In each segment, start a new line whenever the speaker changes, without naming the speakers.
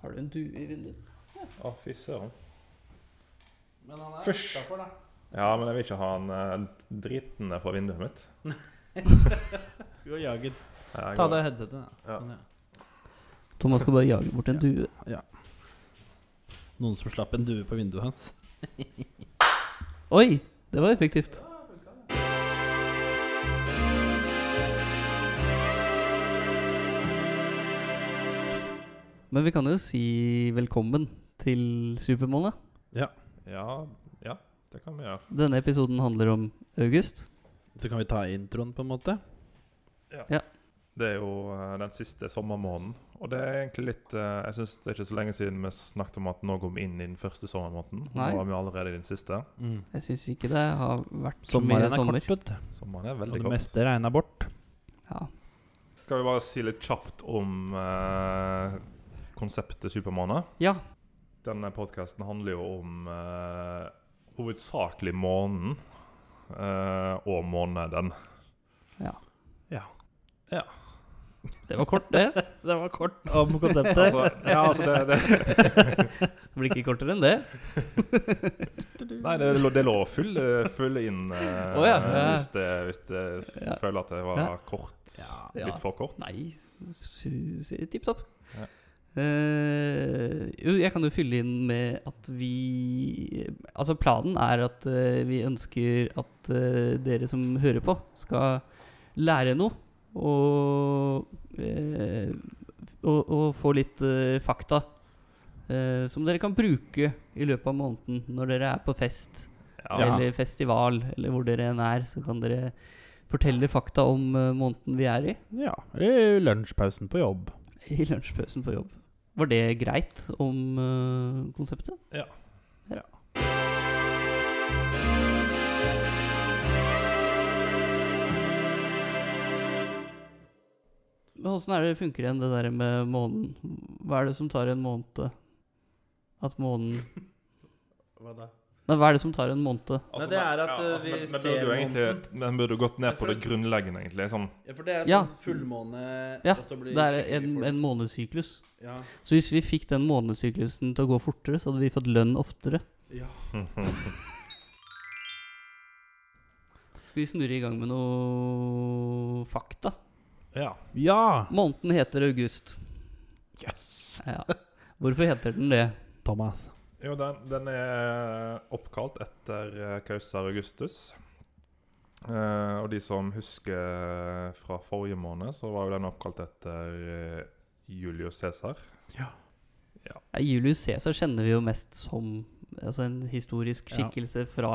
har du en due i vinduet.
Å, fy søren.
Men han er
Først.
utafor, da.
Ja, men jeg vil ikke ha han eh, dritende på vinduet mitt.
Gå og jage.
Jeg
Ta
går-
av deg headsetet. da.
Ja.
Sånn, ja.
Thomas skal bare jage bort en due.
Noen som slapp en due på vinduet hans.
Oi! Det var effektivt. Men vi kan jo si velkommen til Supermåned.
Ja, ja, det kan vi gjøre.
Denne episoden handler om august.
Så kan vi ta introen, på en måte.
Det er jo eh, den siste sommermåneden, og det er egentlig litt eh, Jeg syns det er ikke så lenge siden vi snakket om at nå går vi inn i den første sommermåneden.
Nei.
Nå er vi allerede i den siste.
Mm.
Jeg syns ikke det har vært så mye
Sommeren er
sommer.
kort, vet du.
Sommeren er
Og
veldig
det
kort.
meste regna bort.
Ja.
Skal vi bare si litt kjapt om eh, konseptet Supermåned?
ja.
Denne podkasten handler jo om eh, hovedsakelig månen eh, og måneden.
Det var kort, det.
Det var kort om konseptet.
Altså, ja, altså det, det,
Det blir ikke kortere enn det.
nei, det, lå- det lå å fylle, fylle inn eh,
Å ja, ja.
hvis det, hvis det
Ja.
føler at det var
Ja.
kort.
Ja.
Ja.
Litt for kort.
Nei, tipp topp.
Ja.
Eh, jo, jeg kan jo fylle inn med at vi Altså, planen er at eh, vi ønsker at eh, dere som hører på, skal lære noe. Og, eh, og, og få litt eh, fakta eh, som dere kan bruke i løpet av måneden når dere er på fest
Ja.
eller festival, eller hvor dere enn er. Så kan dere fortelle fakta om eh, måneden vi er i.
Ja. Eller lunsjpausen på jobb.
I lunsjpausen på jobb. Var det greit om eh, konseptet?
Ja.
Ja. Men åssen er det funker igjen, det der med månen? Hva er det som tar en måned? At månen
Hva da?
Nei, hva er det som tar en måned?
Altså,
det er at,
ja,
eh,
altså,
vi
men, men
ser
burde jo egentlig, Den burde jo gått ned
Jeg
på det
føler-
grunnleggende, egentlig. Sånn,
Ja, for det er sånn
Ja.
fullmåne
Ja,
og så blir
Det er
skikkelig
en,
folk-
en månedssyklus.
ja.
Så hvis vi fikk den månedssyklusen til å gå fortere, så hadde vi fått lønn oftere.
ja.
Skal vi snurre i gang med noe fakta?
ja.
Ja!
Måneden heter august.
Yes!
Ja. Hvorfor heter den det?
Thomas.
Jo, den, den er eh, oppkalt etter eh, Kausar Augustus. Eh, og de som husker fra forrige måned, så var jo den oppkalt etter eh, Julius Cæsar.
Ja, Julius Cæsar kjenner vi jo mest som altså en historisk
Ja.
skikkelse fra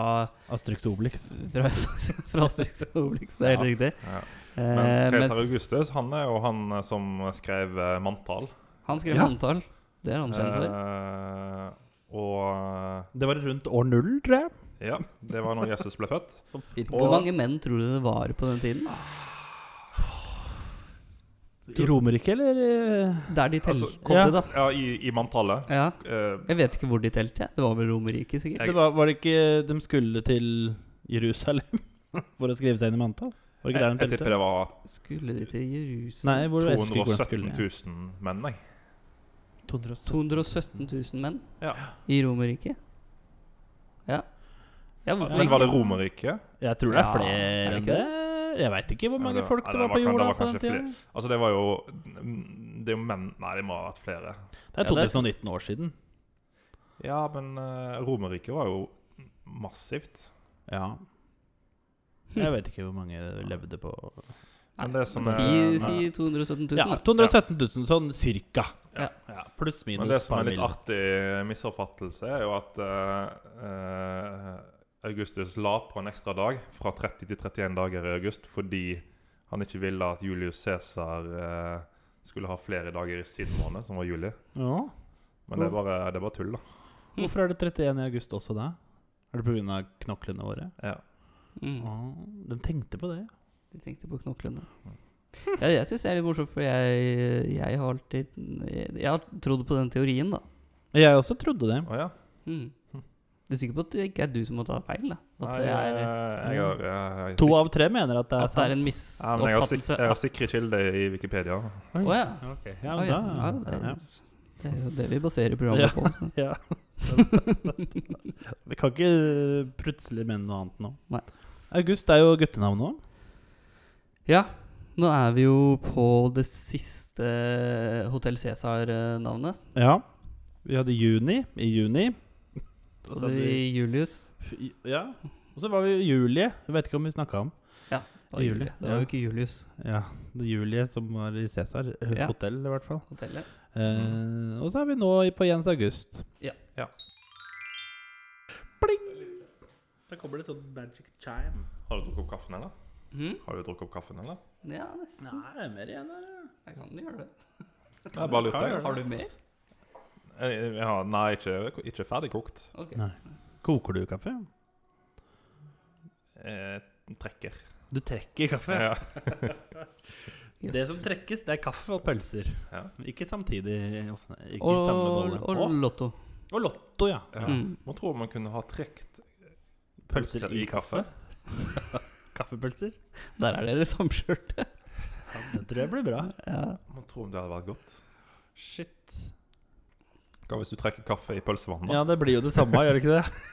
Astrix Obelix.
Fra, fra Asterix og Obelix, det er helt riktig.
Ja.
Eh,
Mens
mens
Kausar Augustus han er jo han eh, som skrev eh, manntall.
han skrev
Ja.
manntall. Det er han kjent for.
Eh, og
Det var rundt år null, tror jeg.
eh, Ja, det var når Jesus ble født.
Som
Hvor mange menn tror du det var på den tiden?
I Romerike, eller? eh?
Der de telte,
Altså,
da.
Ja, i, i manntallet.
Ja.
Eh,
Jeg vet ikke hvor de telte. jeg. Det var vel Romerriket, sikkert.
Jeg-
Det var, var det ikke de skulle til Jerusalem for å skrive seg inn i manntall? Var
jeg,
det ikke
jeg
der de
tipper
telte?
det var
Skulle de til Jerusalem
Nei, hvor jeg husker ikke hvor
217
de skulle.
000 menn, jeg.
217
217 000 menn
Ja.
i Romerriket. Ja. ja hvorfor
Men
ikke?
var det Romerriket?
Jeg tror det er
Ja,
flere
er det
enn
ikke
det. Jeg veit ikke hvor
Ja,
mange
det var-
folk
ja,
det
det
var på
var kan- det
jorda
var
på den
kanskje
tiden.
Altså, det var jo Det er jo menn Nei, det må ha vært flere.
Det er
Ja, det er-
2019 år siden.
Ja, men uh, Romerriket var jo massivt.
Ja.
Hmm.
Jeg vet ikke hvor mange levde på
Men det som
si,
er-
si 217 000,
Ja,
da.
217 000, sånn cirka.
Ja.
Ja, Pluss minus.
Men det som
par
er litt
mil.
artig misoppfattelse, er jo at eh, eh, Augustus la på en ekstra dag, fra 30 til 31 dager i august, fordi han ikke ville at Julius Cæsar eh, skulle ha flere dager i sin måned, som var juli.
Ja.
Oh.
Men det er bare, det er bare tull, da.
Hvorfor er det 31 i august også da? Er det pga. knoklene våre?
Ja.
Mm.
Ah, de tenkte på det.
De tenkte på knoklene. Ja, jeg syns det er litt morsomt, for jeg, jeg har alltid Jeg har trodd på den teorien, da.
Jeg også trodde det.
Å ja.
Mm.
Hm.
Du er sikker på at det ikke er du som må ta feil? da? At
Nei, eh,
det
jeg,
er, eh,
jeg, har- jeg,
To
jeg,
av tre mener at det er
at det er
sant.
en
Ja, men jeg har, sik
misoppfattelse?
jeg har sikre kilder i Wikipedia.
Å ja.
Ok, ja,
Å,
men
ja. Ja,
da
det-
ja.
Det er jo det vi baserer programmet
Ja.
på. Så.
Ja. Vi kan ikke plutselig mene noe annet nå.
Nei.
August er jo guttenavn òg.
Ja, nå er vi jo på det siste Hotell Cæsar-navnet.
Ja. Vi hadde juni i juni. Så
Så
sa
det
vi-
er Julius.
Ja. Og så var vi Julie. Jeg vet ikke om vi snakka om.
var
Juli,
Julie. Det var
ja.
jo ikke Julius
Ja, det er Julie som var i Cæsar
Ja.
hotell, i hvert fall.
hotellet.
Eh, og så er vi nå i- på Jens August.
Ja.
Ja.
Pling! Da kommer det sånn magic chime.
Har du drukket opp kaffen, eller?
Mhm.
Har du drukket opp kaffen, eller?
Ja, nesten.
Nei, mer igjen, da.
Jeg kan jo gjøre det.
Jeg bare lurte. jeg.
Har du mer?
Jeg- jeg har- Eh, Nei, ikke, ikke ferdig kokt.
Ok.
Koker du kaffe?
Eh, trekker.
Du trekker kaffe.
Ja.
Yes.
Det som trekkes, det er kaffe og pølser.
Ja.
Ikke samtidig. Ikke i samme
og,
bolle.
og Lotto.
og Lotto, ja.
Ja.
Mm.
Man tror man kunne ha trekt
Pølser
pølser
i kaffe. Kaffepølser.
Der er dere samkjørte.
Ja, det tror jeg blir bra.
Ja.
Man tror om det hadde vært godt.
Shit.
Hva hvis du trekker kaffe i pølsevann? Da
Ja, det blir jo det samme, gjør det ikke det?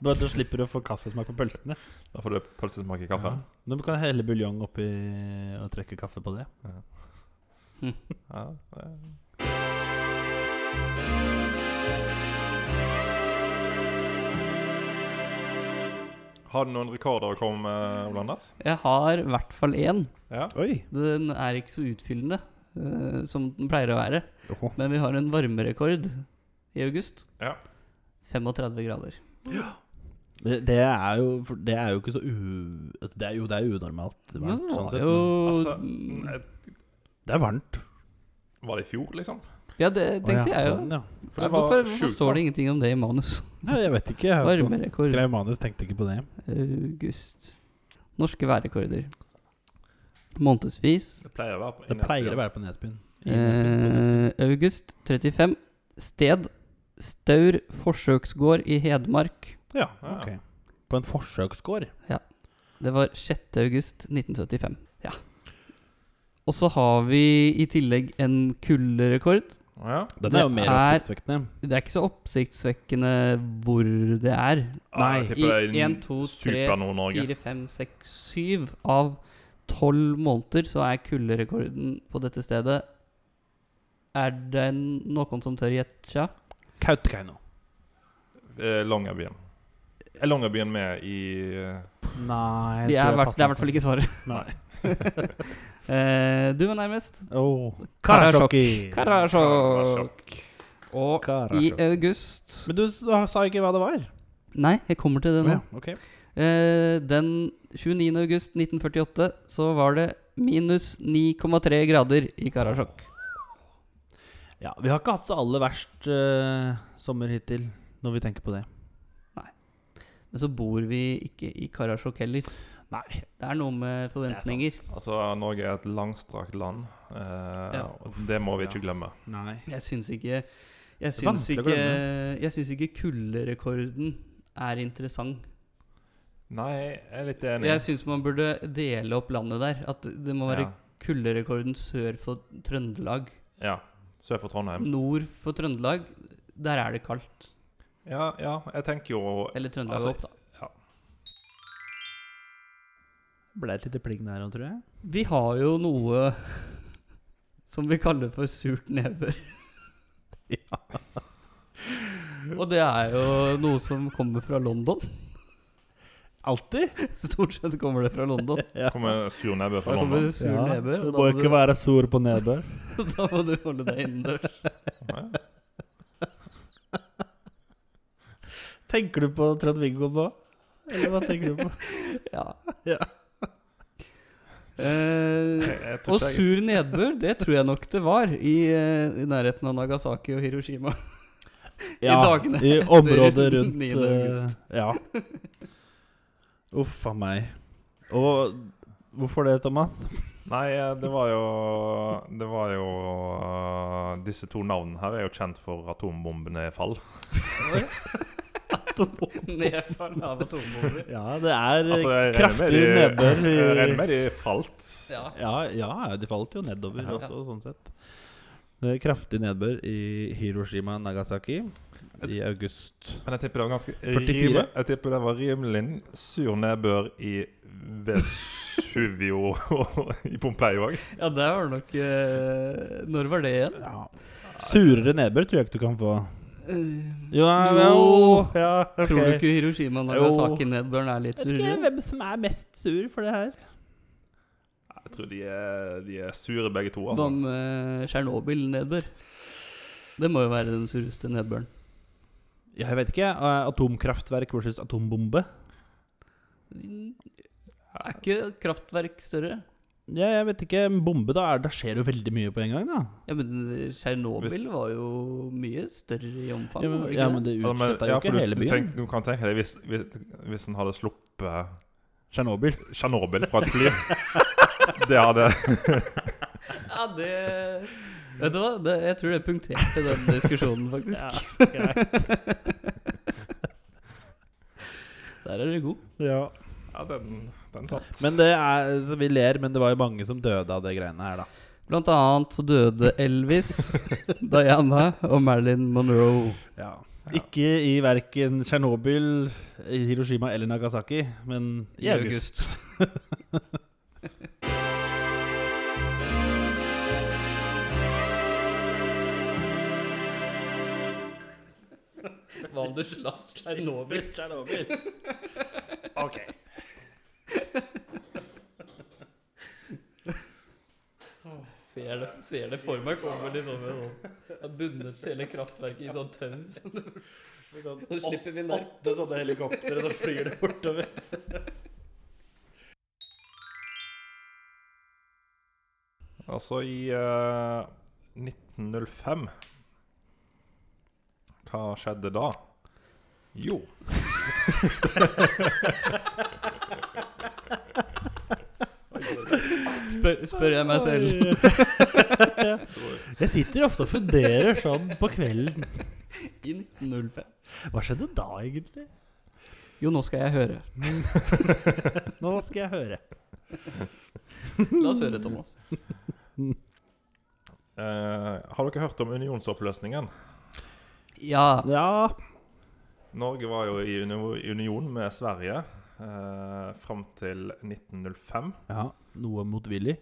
Bare at du slipper å få kaffesmak på pølsene.
Da får du pølsesmak i kaffen.
Ja. Du kan helle buljong oppi og trekke kaffe på det.
Ja. det- Har du noen rekorder å komme med, Ole Anders?
Jeg har i hvert fall én.
Ja.
Oi!
Den er ikke så utfyllende eh, som den pleier å være.
Oho.
Men vi har en varmerekord i august.
Ja.
35 grader.
Det, det er jo for Det er jo ikke så u... Altså, det er jo det er unormalt
Men
varmt.
det
Sånn
var
sett.
jo mm,
Altså, n-
Det er varmt.
var det i fjor, liksom?
Ja, det tenkte
Å, ja,
jeg jo.
Sånn, ja.
For det
Nei,
var
hvorfor, hvorfor
sjukt
står
varmt.
det ingenting om det i manus?
Nei, jeg vet ikke. Jeg har ikke-
Varmerekord.
skrev manus, tenkte ikke på det.
August. Norske værrekorder. Månedsvis.
Det pleier å være på
Det pleier å være på Nesbyen. I Nesbyen, på Nesbyen.
Eh, august 35. Sted Staur forsøksgård i Hedmark.
Ja,
ja.
ok. På en forsøksgård.
Det var 6. august 1975. Ja. Og så har vi i tillegg en kulderekord.
Ja.
Den er jo
Det
mer
er-
oppsiktsvekkende.
Det er ikke så oppsiktsvekkende hvor det er.
Nei,
Nei, jeg tipper
i
det er
en, to, tre,
Super-Nord-Norge.
Fire, fem, seks, syv av tolv måneder så er kulderekorden på dette stedet Er det noen som tør gjette?
Kautokeino.
Eh, Longyearbyen. Er Longyearbyen med i eh,
Nei
Det er i hvert det er i hvert fall ikke svaret.
Nei.
Eh, du var nærmest.
Oh.
Karasjok. Karasjok.
Karasjok?
Og i eh,
Karasjok.
august
Men du sa sa ikke hva det var?
Nei, jeg kommer til det nå.
Å ja, ok.
Eh, den 29. august 1948 så var det minus 9,3 grader i Karasjok.
Ja, Vi har ikke hatt så aller verst eh, sommer hittil, når vi tenker på det.
Men så bor vi ikke i Karasjok heller.
Nei.
Det er noe med forventninger.
Altså, Norge er et langstrakt land, eh,
Ja.
og det må vi ikke glemme.
Nei.
Jeg syns ikke Jeg
er
syns
vanskelig å
ikke, jeg syns ikke kulderekorden er interessant.
Nei, jeg er litt enig.
Jeg syns man burde dele opp landet der. At det må være
ja.
kulderekorden sør for Trøndelag.
ja. Sør for Trondheim.
Nord for Trøndelag, der er det kaldt.
Ja, ja, jeg tenker jo
Eller Trøndelag
Altså,
opp, da.
Ble et lite pling der òg, tror jeg.
Vi har jo noe som vi kaller for surt nedbør.
Ja.
Og det er jo noe som kommer fra London.
Alltid?
Stort sett kommer det fra London.
Ja.
Kommer sur nedbør fra
Da kommer
London.
det sur nedbør.
Du
og
må
da må
ikke være sur på nedbør.
du- Da må du holde deg innendørs.
Ja.
Tenker du på Trond-Viggo nå? Eller hva tenker du på?
Ja.
Ja.
Eh,
Jeg, jeg tror
og
ikke jeg-
sur nedbør, det tror jeg nok det var i, eh, i nærheten av Nagasaki og Hiroshima. I dagene
I
etter
området rundt
9.
eh,
august.
Ja. Uff a meg. Og hvorfor det, Thomas?
Nei, eh, det var jo Det var jo eh, Disse to navnene her er jo kjent for atombombene-fall.
Nedfall av atombomber.
Ja, det er
Altså, jeg regner med
kraftig
de-
nedbør. i-
Jeg regner med de falt.
Ja.
Ja, ja, de falt jo nedover
Ja.
også, sånn sett. Det er Kraftig nedbør i Hiroshima og Nagasaki i august.
Men jeg tipper det var ganske
44?
rime, Jeg tipper det var rimelig sur nedbør i Vesuvio og i Pompeii òg.
Ja, det var nok eh, Når var det igjen?
Ja. Surere nedbør tror jeg ikke du kan få.
Eh,
Jo,
Jo.
ja, ok.
Tror du ikke Hiroshima og
Jo.
Nagasaki-nedbøren er litt surere?
hvem som er mest sur for det her.
Jeg tror de er, de er sure begge to.
Hva
Altså.
med Tsjernobyl-nedbør? Det må jo være den sureste nedbøren.
Jeg vet ikke. eh, Atomkraftverk versus atombombe.
Er ikke kraftverk større?
Ja, jeg vet ikke. men Bombe, da, er, da skjer det jo veldig mye på en gang, da.
Ja, men Tsjernobyl
Hvis-
var jo mye større i omfang.
Ja, men,
var det ikke
ja,
det?
men det
Ja, men-
utsletta jo
ja, for
ikke
du,
hele
du,
byen.
tenk, du kan tenke deg hvis, hvis, hvis en hadde sluppet
Tsjernobyl.
Tsjernobyl fra et fly. Det hadde
Ja, det Vet du hva, det, jeg tror det punkterte den diskusjonen, faktisk. Der er du god.
Ja, den, den satt.
Men det er, Vi ler, men det var jo mange som døde av det greiene her, da.
Blant annet så døde Elvis, Diana og Marilyn Monroe.
Ikke i verken Tsjernobyl, i Hiroshima eller Nagasaki, men i august.
Hva om du slapp Tsjernobyl?
Ok.
Ser det, ser det for meg kommer liksom en sånn har bundet hele kraftverket i sånn tøm. som- Nå slipper vi ned.
Åtte sånne helikoptre, så flyr det bortover.
Altså, i eh, 1905 Hva skjedde da? Jo
Spør, spør jeg meg selv.
Jeg sitter ofte og funderer sånn på kvelden.
I 1905.
Hva skjedde da, egentlig?
Jo, nå skal jeg høre.
Nå skal jeg høre.
La oss høre, Thomas.
Eh, Har dere hørt om unionsoppløsningen?
Ja.
Ja,
Norge var jo i uni- union med Sverige eh, fram til 1905.
ja noe motvillig.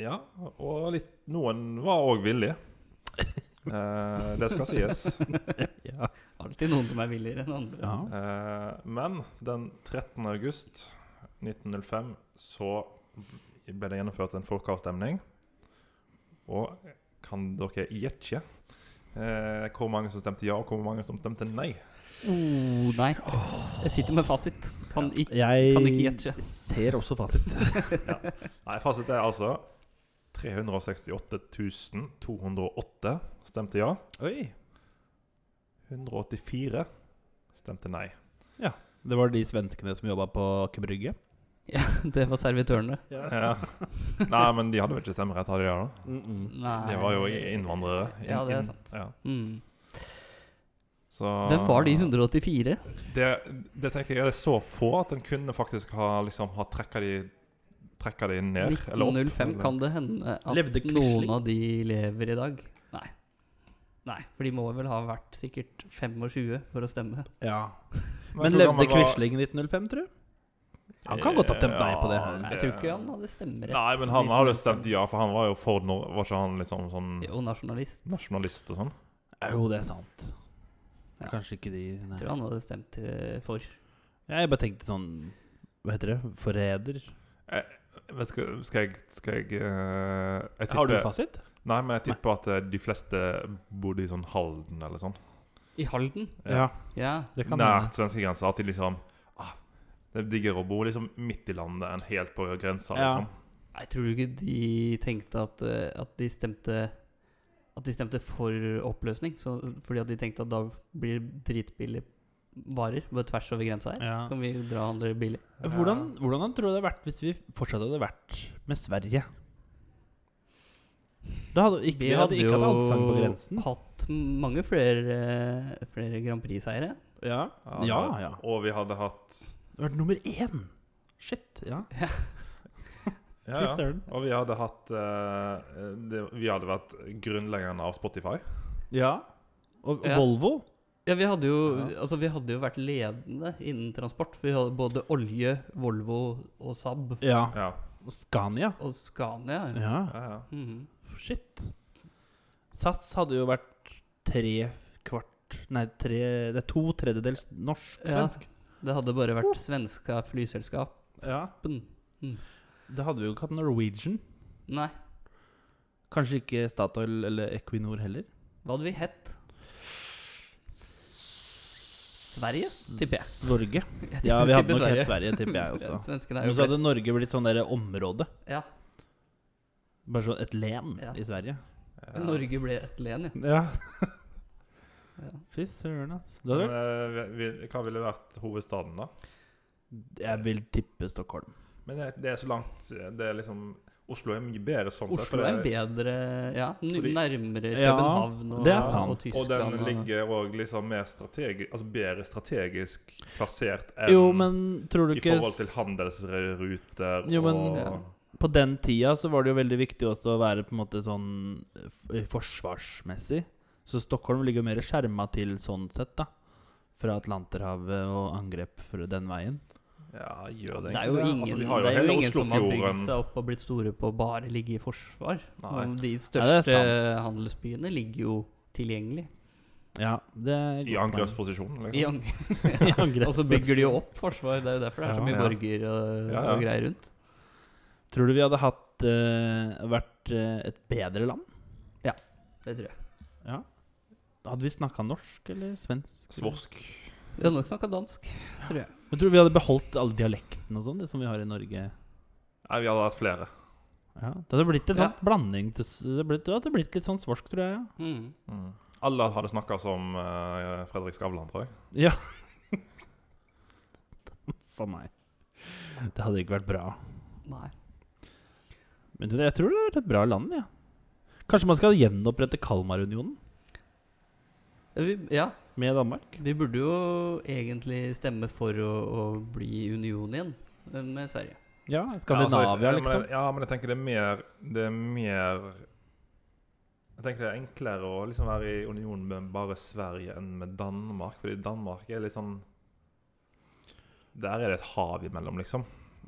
Ja, og litt, noen var òg villige. Eh, det skal sies.
Ja.
Alltid noen som er villigere enn andre.
ja.
Eh, men den 13. august 1905 så ble det gjennomført en folkeavstemning. Og kan dere gjette eh, hvor mange som stemte ja, og hvor mange som stemte nei?
Oh, nei. Jeg sitter med fasit. Kan ikke
Jeg
Kan ikke gjette.
ser også fasit.
Nei, fasit er altså 368 208 stemte ja.
Oi.
184 stemte nei.
Det var de svenskene som jobba på Aker Brygge.
Ja, det var servitørene.
Ja. Nei, men de hadde vel ikke stemmerett, hadde de det? da?
Nei.
De var jo innvandrere.
Ja, det er sant.
Ja.
Mm.
Så,
Hvem var de 184?
Det, det tenker jeg er så få at en kunne faktisk ha, liksom, ha trekka de Trekka de ned, eller opp.
1905
eller-
kan det hende at
Levde Quisling?
noen av de lever i dag. Nei. Nei, for de må vel ha vært sikkert 25 for å stemme.
Ja.
Men
Men
hvor
levde
gammel var-
Quisling i 1905, tror du? Han kan godt ha stemt nei på det her.
Ja,
Nei, jeg tror ikke han hadde stemmerett.
Nei, men han hadde stemt
1905.
ja, for han var jo for Nor- Var ikke han liksom sånn
Jo, nasjonalist.
nasjonalist og sånn?
Jo, det er sant.
Ja.
Kanskje ikke de nei.
Jeg tror han hadde stemt eh, for.
Jeg bare tenkte sånn Hva heter det? Forræder?
Vet ikke, skal jeg Skal jeg, eh, jeg tipper,
Har du fasit?
Nei, men jeg tipper at eh, de fleste bodde i sånn Halden eller sånn.
I Halden?
Ja.
Ja.
Det kan hende.
Nært svenskegrensa. At de liksom ah, Det er diggere å bo liksom midt i landet enn helt på grensa.
Ja.
Liksom.
Nei, tror du ikke de tenkte at, eh, at de stemte At de stemte for oppløsning? Så, fordi at de tenkte at da blir det dritbillige varer bare tvers over grensa her?
Ja.
Kan vi dra og handle billig?
Hvordan, hvordan han tror det hadde vært hvis vi fortsatt hadde vært med Sverige? Da hadde ikke, vi hadde ikke hatt allsang på grensen.
hatt mange flere, eh, flere Grand Prix-seiere.
Ja,
Eh, Ja,
ja.
det-
ja.
Og vi hadde hatt
Det hadde vært nummer én! Shit. Ja.
Ja, ja. Og vi hadde hatt eh, det, Vi hadde vært grunnleggeren av Spotify.
Ja. Og, og
Ja.
Volvo.
Ja, vi hadde, jo,
Ja.
altså, vi hadde jo vært ledende innen transport. Vi hadde både olje, Volvo og Saab
Ja.
Ja,
Og Scania.
og Scania. Ja.
Ja.
ja, ja.
Mhm.
Shit. SAS hadde jo vært tre kvart Nei, tre, det er to tredjedels
Ja,
norsk-svensk.
det hadde bare vært svenska flyselskapen.
Ja. Det hadde vi jo ikke hatt Norwegian.
Nei,
Kanskje ikke Statoil eller Equinor heller.
hva hadde vi hett? Sverige, tipper jeg.
Sverige.
Jeg
Ja,
tipper-
vi hadde
tipper
nok
Sverige.
hett Sverige, tipper jeg også.
Svenskene er
Men
jo
så hadde
flest.
Norge blitt sånn derre område.
Ja,
Bare sånn et len
Ja.
i Sverige.
men Norge ble et len, ja.
Ja.
ja.
Fy søren, ass. Det hadde
Men,
vært
eh, vi, vi- hva ville vært hovedstaden, da?
Jeg vil tippe Stockholm.
Men det, det er så langt Det er liksom Oslo er mye bedre sånn sett.
Oslo
for det-
er bedre Ja, n-
Fordi-
nærmere
Ja,
København og,
det er sant.
og
Og
Tyskland.
den ligger òg liksom mer strategisk Altså bedre strategisk plassert enn
Jo, men tror du
i
ikke
forhold til handelsruter
Jo, men-
og
Ja.
På den tida så var det jo veldig viktig også å være på en måte sånn eh, forsvarsmessig. Så Stockholm ligger jo mer skjerma til sånn sett, da. Fra Atlanterhavet og angrep fra den veien.
Ja, gjør
det
det
er jo
egentlig
ingen,
altså, vi har jo
det er jo
hele
ingen som har bygd
Oslofjorden.
seg opp og blitt store på å bare ligge i forsvar.
Nei.
Og De
Ja, det
største
er sant.
handelsbyene ligger jo tilgjengelig.
Ja, det er
I angrepsposisjon,
I
liksom.
ang-
angrep.
og så bygger de jo opp forsvar. Det er jo derfor det er så
Ja.
mye
Ja.
borger og,
Ja, ja.
og greier rundt.
Tror du vi hadde hatt eh, vært eh, et bedre land?
Det tror jeg.
Ja. Hadde vi snakka norsk eller svensk?
Svorsk.
Vi hadde nok snakka dansk.
Men tror du vi hadde beholdt alle dialektene og sånn, det som vi har i Norge?
Nei, vi hadde hatt flere.
Ja, Det hadde blitt en
Ja.
sånn blanding til, det hadde blitt, det hadde blitt litt sånn svorsk, tror jeg. ja.
Mm.
Mm. Alle hadde snakka som eh, Fredrik Skavlan, tror jeg.
Ja. For meg. Det hadde ikke vært bra.
Nei.
Men det- jeg tror det hadde vært et bra land, ja. Kanskje man skal gjenopprette Kalmarunionen
Ja, Vi, ja,
med Danmark?
vi burde jo egentlig stemme for å, å bli i union igjen eh, med Sverige.
Ja,
ja,
Skandinavia,
altså, jeg-
liksom.
Men, ja, men jeg tenker det er mer Det er mer Jeg tenker det er enklere å liksom være i union med bare Sverige enn med Danmark. Fordi Danmark er litt sånn Der er det et hav imellom, liksom.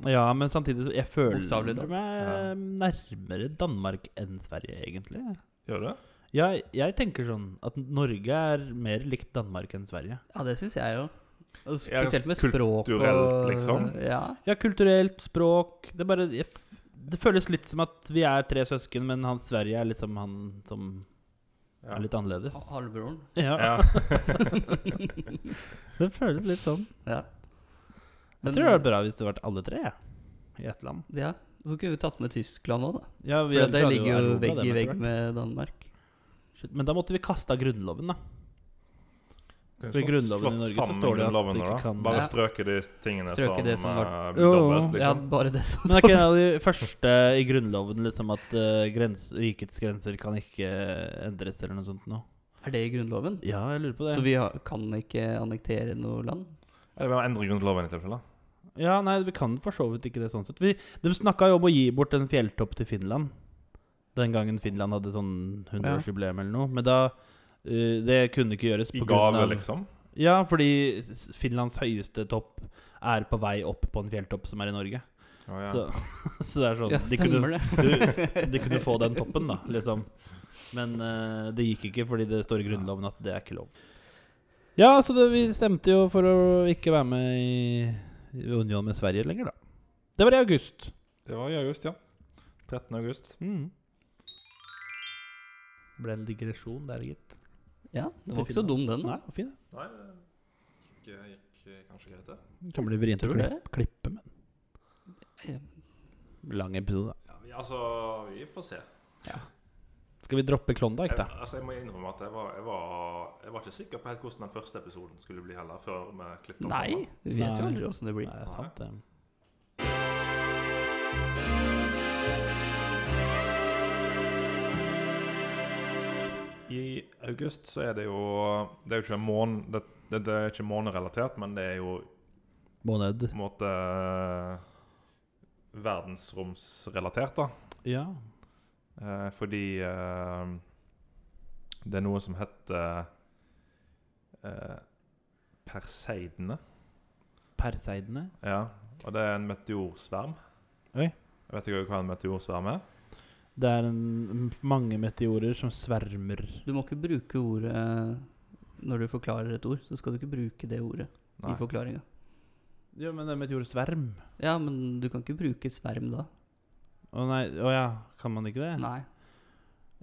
Ja, men samtidig så Jeg
Bokstavelig
føler
talt.
meg nærmere Danmark enn Sverige, egentlig.
Gjør du det?
Ja, jeg tenker sånn at Norge er mer likt Danmark enn Sverige.
Ja, det syns jeg jo. Og
Ja,
spesielt med språk
kulturelt,
og
liksom.
Ja.
Ja, kulturelt, språk Det er bare jeg, f- Det føles litt som at vi er tre søsken, men han Sverige er litt som han som
Ja.
er litt annerledes.
ha- Halvbroren.
Ja.
Ja.
Det føles litt sånn.
Ja.
Jeg tror det hadde vært bra hvis det hadde vært alle tre ja, i ett land.
Ja, Så kunne vi tatt med Tyskland òg, da.
Ja,
For det ligger jo vegg i vegg med Danmark.
Men da måtte vi kaste av Grunnloven, da.
Kunne
For i
slått- slått
Grunnloven i Norge så
sammen
står det at
Grunnloven
du
nå,
ikke
da.
kan-
Bare
Ja.
strøke de tingene
Strøke
som,
det som
eh,
Jo, jo.
dobbelt,
Ja,
liksom.
bare det som
Men er ikke en av de første i Grunnloven liksom at eh, grens, rikets grenser kan ikke eh, endres, eller noe sånt noe?
Er det i Grunnloven?
Ja, jeg lurer på det.
Så vi har, kan ikke annektere noe land?
Eller vi må endre Grunnloven i tilfelle.
Ja, nei, vi kan for så vidt ikke det sånn sett. Vi, de snakka jo om å gi bort en fjelltopp til Finland. Den gangen Finland hadde sånn 100-årsjubileum eller noe. Men da eh, Det kunne ikke gjøres
I
på grunn
gave,
av-
liksom.
Ja, fordi s- Finlands høyeste topp er på vei opp på en fjelltopp som er i Norge.
Å, ja.
Så, så det er sånn
Ja,
de, kunne,
stemmer det.
de kunne få den toppen, da, liksom. Men eh, det gikk ikke, fordi det står i Grunnloven at det er ikke lov. Ja, så det, vi stemte jo for å ikke være med i, i union med Sverige lenger, da. Det var i august.
Det var i august, ja. 13. august.
Mm. Ble en digresjon der, gitt.
Ja, den var ikke så dum, den. da.
Nei, hvor fin.
Nei, det gikk eh, kanskje greit, det.
det Kan bli vrient å
Tror du
klippe, klippe, men Lang episode, da.
Ja, vi, altså, vi får se.
Skal vi droppe Klondyke, da?
Jeg, altså, jeg må innrømme at jeg var, jeg, var, jeg var ikke sikker på helt hvordan den første episoden skulle bli heller, før vi klippet den
Nei,
sammen.
vi vet jo
Nei.
aldri åssen det
Nei,
blir.
det er sant, det.
I august så er det jo Det er jo ikke mån... Det, det, det er ikke månerelatert, men det er jo
Måned.
på en måte eh, verdensromsrelatert, da.
Ja.
Eh, fordi eh, det er noe som heter eh, Perseidene.
Perseidene.
Ja, og det er en meteorsverm.
Oi.
Jeg vet ikke hva en meteorsverm er.
Det er en, mange meteorer som svermer.
Du må ikke bruke ordet eh, når du forklarer et ord. Så skal du ikke bruke det ordet
Nei.
i forklaringa.
Ja, men det er meteorsverm.
Ja, men du kan ikke bruke sverm da.
Å nei, å ja, kan man ikke det?
Nei.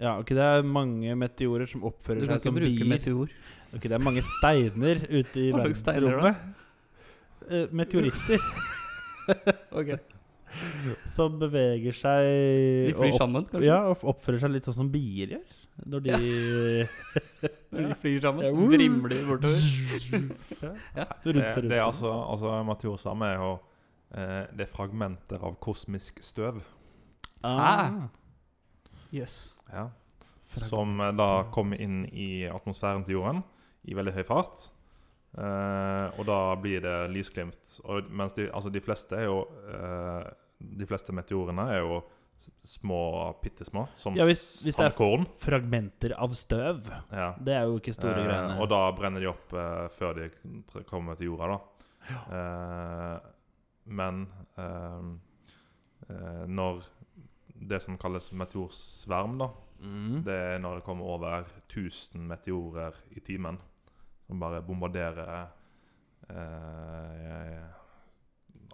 Ja, ok, Det er mange meteorer som
Du
oppfører
kan
seg
ikke
som
bruke
bier.
meteor.
Ok, Det er mange steiner ute i
Hva slags steiner da?
verdensrommet. Eh, meteoritter
Ok.
som beveger seg
De
og
flyr
opp-
sammen, kanskje?
Ja, og oppfører seg litt sånn som bier gjør. Når de
De flyr sammen,
Ja, woo.
vrimler bortover. Ja.
Rundt og
Det,
rundt.
det er altså, altså En meteorsverm er jo eh, Det er fragmenter av kosmisk støv.
ah,
Jøss.
Ja. Som eh, da kommer inn i atmosfæren til jorden i veldig høy fart. Eh, og da blir det lysglimt. Og mens de, altså de fleste er jo eh, De fleste meteorene er jo s- små, bitte små, som
Ja, hvis- hvis det er-
sandkorn.
Fragmenter av støv.
Ja.
Det er jo ikke store
Eh,
greiene.
Og da brenner de opp eh, før de tr- kommer til jorda, da. Eh, men eh, eh, når det som kalles meteorsverm, da,
mm.
det er når det kommer over 1000 meteorer i timen som bare bombarderer eh,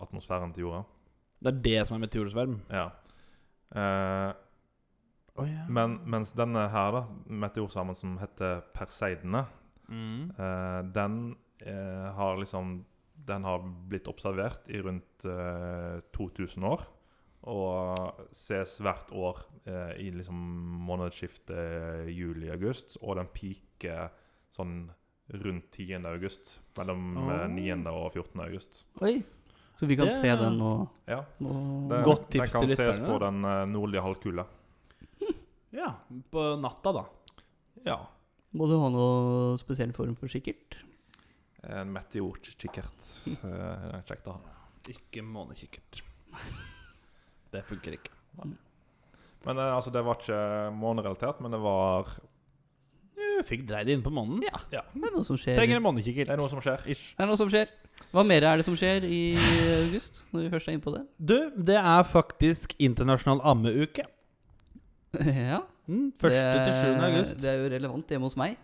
atmosfæren til jorda.
Det er det som er meteorsverm.
Ja. Eh,
Oh, ja.
men mens denne her, da, meteorsvermen som heter Perseidene,
mm.
Eh, den eh, har liksom Den har blitt observert i rundt eh, 2000 år. Og ses hvert år eh, i liksom månedsskiftet eh, juli-august. Og den peaker sånn rundt 10. august. Mellom
Oh.
eh, 9. og 14. august.
Oi. Så vi kan
Det-
se den nå.
Ja.
nå.
Det,
Godt
den
tips
kan
til
ses
lytterne.
på den eh, nordlige halvkule.
ja. På natta, da.
Ja.
Må du ha noe spesiell form for kikkert?
En meteorkikkert. Eh, Kjekt å ha.
Ikke månekikkert. Det funker ikke.
Men eh, altså, det var ikke månerelatert, men det var
Du fikk dreid det inn på månen.
Ja. Det er noe som skjer.
Trenger
Det
en månekikkert.
er noe som skjer.
Ish.
Det er noe som skjer. Hva mer er det som skjer i august, når vi først er inne på det?
Du, det er faktisk internasjonal ammeuke.
Ja.
Mm, Første
det,
til 7. august.
Det er jo relevant hjemme hos meg.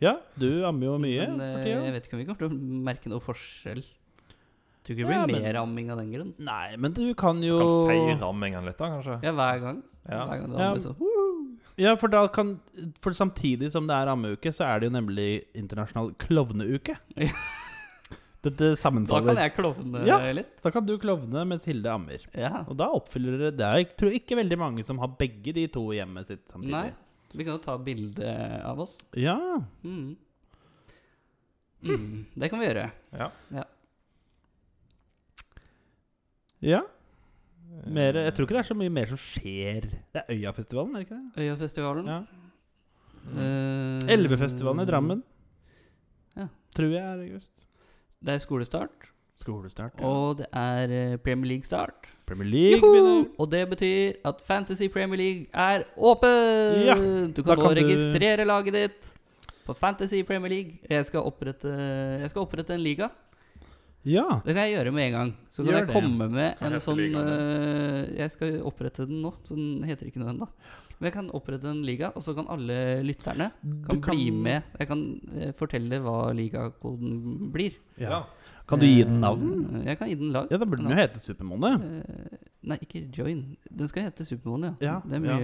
Ja, du ammer jo mye
men eh,
for
jeg
tida.
vet ikke om vi kommer til å merke noe forskjell. Tror ikke det blir
Ja, men-
mer amming av den grunn.
Nei, men du kan jo
Kan feire ammingen litt, da, kanskje?
Ja, hver gang.
Ja.
Hver gang det
Ja.
ammes, så- "Hm,
Ja, for da kan For samtidig som det er ammeuke, så er det jo nemlig internasjonal klovneuke.
Ja.
Dette
Da
sammenfaller.
kan jeg klovne
Ja.
litt.
Da kan du klovne mens Hilde ammer.
Ja.
Og da oppfyller dere Det er jeg tror ikke veldig mange som har begge de to i hjemmet sitt samtidig.
Nei. Vi kan jo ta bilde av oss.
Ja.
Mm.
Hm.
Mm. Det kan vi gjøre.
Ja.
ja. Mer, jeg tror ikke det er så mye mer som skjer. Det er Øyafestivalen, er det ikke det?
Øyafestivalen.
Ja.
Eh,
Elvefestivalen i Drammen.
Ja.
Tror jeg er i august.
Det er skolestart,
Skolestart.
og det er eh, Premier League-start.
Premier League
Joho!
begynner.
Og det betyr at Fantasy Premier League er åpen!
Ja,
du
da
kan nå
kan du-
registrere laget ditt på Fantasy Premier League. Jeg skal opprette, jeg skal opprette en liga.
Ja.
Det kan jeg gjøre med en gang. Så kan
Gjør
jeg
det.
komme med
Hva
en
heter
sånn
ligaen
eh, Jeg skal opprette den nå, så den heter ikke noe ennå. Men jeg kan opprette en liga, og så kan alle lytterne kan
Du
bli med. Jeg kan eh, fortelle hva ligakoden blir.
Ja. Kan du gi den navn?
Eh, Jeg kan gi den lag.
Ja, da burde den jo hete Supermåne.
Eh, Nei, ikke Join. Den skal hete Supermåne, ja.
Ja,
Det er mye
ja,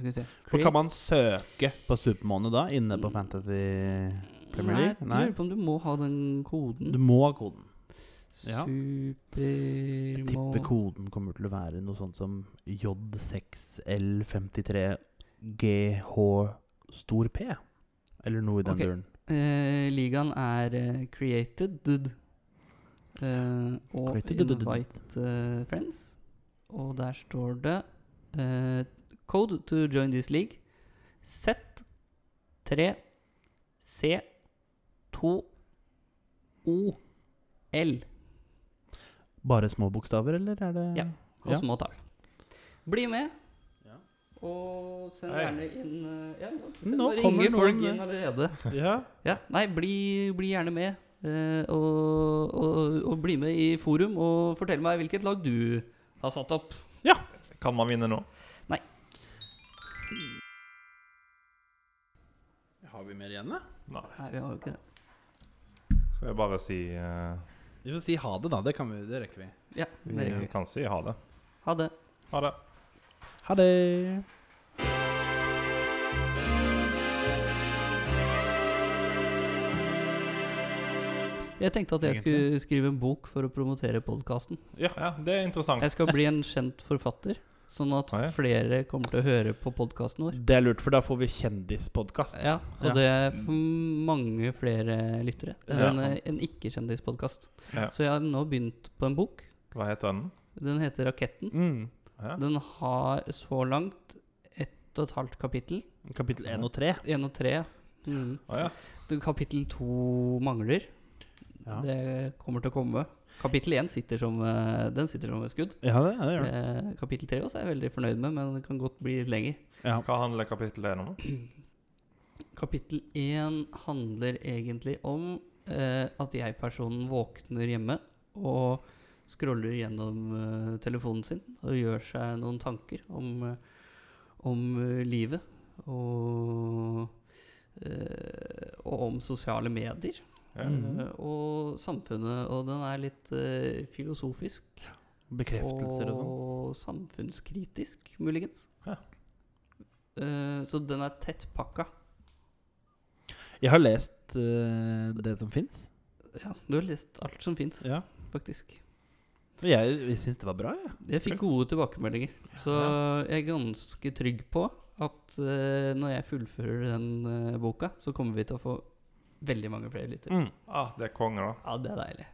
Skal vi se.
For kan man søke på Supermåne da, inne på Fantasy Premier
Nei,
League?
jeg lurer på om du må ha den koden.
Du må ha koden. ja. Jeg
Supermåne
tipper koden kommer til å være noe sånt som J6L53GH stor P. Eller noe i den
Ok.
duren.
Eh, ligaen er eh, created eh, og
Created.
invite eh, friends. Og der står det eh, Code to join this league. Z 3 C 2 O L.
Bare små bokstaver, eller er det
Ja. og
Ja.
små tall. Bli med.
Ja.
Og send
Hei.
gjerne inn eh, ja,
Nå
send bare
kommer
ringer folk
noen, eh.
inn allerede.
Ja.
Ja, nei, bli, bli gjerne med. eh, og, og, og bli med i forum og fortell meg hvilket lag du har satt opp.
Kan man vinne nå?
Har vi mer igjen, da?
Nei.
Nei, vi har jo ikke det.
Skal jeg bare si eh,
Vi får si ha det, da. Det, kan vi, det rekker vi.
Ja, det rekker
Vi
vi.
kan si ha det.
Ha det.
Ha det.
Ha det.
Jeg tenkte at jeg skulle skrive en bok for å promotere podkasten.
Ja, det er interessant.
Jeg skal bli en kjent forfatter, sånn at
Oi.
flere kommer til å høre på podkasten vår.
Det er lurt, for da får vi kjendispodkast.
Ja,
Ja.
og det er for mange flere lyttere
Ja,
enn
sant.
en ikke-kjendispodkast.
Ja.
Så jeg har nå begynt på en bok.
Hva heter den?
Den heter 'Raketten'.
Mm.
Ja.
Den har så langt ett og et halvt kapittel.
Kapittel 1 og 3.
Én og tre. ja. Mm.
Å ja.
Du, Kapittel to mangler.
Ja.
Det kommer til å komme. Kapittel én sitter som eh, Den sitter som et skudd.
Ja, det, ja, det gjør det.
Eh, Kapittel tre også er jeg veldig fornøyd med, men det kan godt bli litt lenger.
Ja.
Hva handler kapittel 1 om?
Kapittel 1 handler egentlig om eh, at jeg-personen våkner hjemme og scroller gjennom eh, telefonen sin og gjør seg noen tanker om, eh, om eh, livet og, eh, og om sosiale medier
Ja.
Mm.
eh, og samfunnet. Og den er litt eh, filosofisk
Bekreftelser og sånn.
samfunnskritisk, muligens.
Ja.
Eh, så den er tettpakka.
Jeg har lest eh, det som fins.
Ja, du har lest alt som fins,
Ja.
faktisk.
Og jeg, jeg syns det var bra, jeg.
Jeg fikk
Kult.
gode tilbakemeldinger. Så jeg er ganske trygg på at eh, når jeg fullfører den eh, boka, så kommer vi til å få veldig mange flere lyttere.
Ah, det er konge, da.
Ja, det er deilig.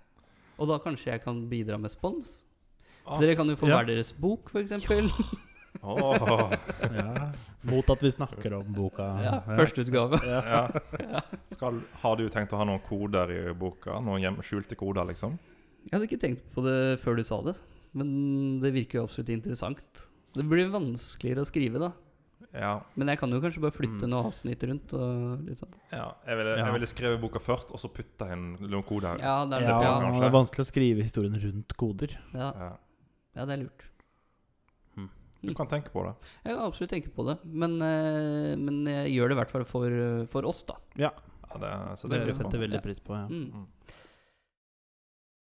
Og da kanskje jeg kan bidra med spons.
Ah.
Dere kan jo få
Ja.
hver deres bok, f.eks. Ja,
Åh,
Ja. Mot at vi snakker om boka.
ja, Førsteutgave.
ja. Skal, har du tenkt å ha noen koder i boka? Noen hjem, skjulte koder, liksom?
Jeg hadde ikke tenkt på det før du sa det, men det virker jo absolutt interessant. Det blir vanskeligere å skrive, da.
Ja.
Men jeg kan jo kanskje bare flytte
Mm.
noen avsnitt rundt. Og litt sånn.
ja. Jeg, ville,
Ja.
jeg ville skrevet boka først, og så putta jeg inn noen koder.
Ja, det er
Ja,
lurt. Ja.
kanskje.
det er vanskelig å skrive historien rundt koder.
Ja.
Ja.
ja, det er lurt.
Du kan tenke på det.
Jeg kan absolutt tenke på det, men, eh, men jeg gjør det i hvert fall for, eh, for oss, da.
Ja, det setter
Det
jeg pris på.
setter jeg veldig pris på. Ja.
Mm.
Mm.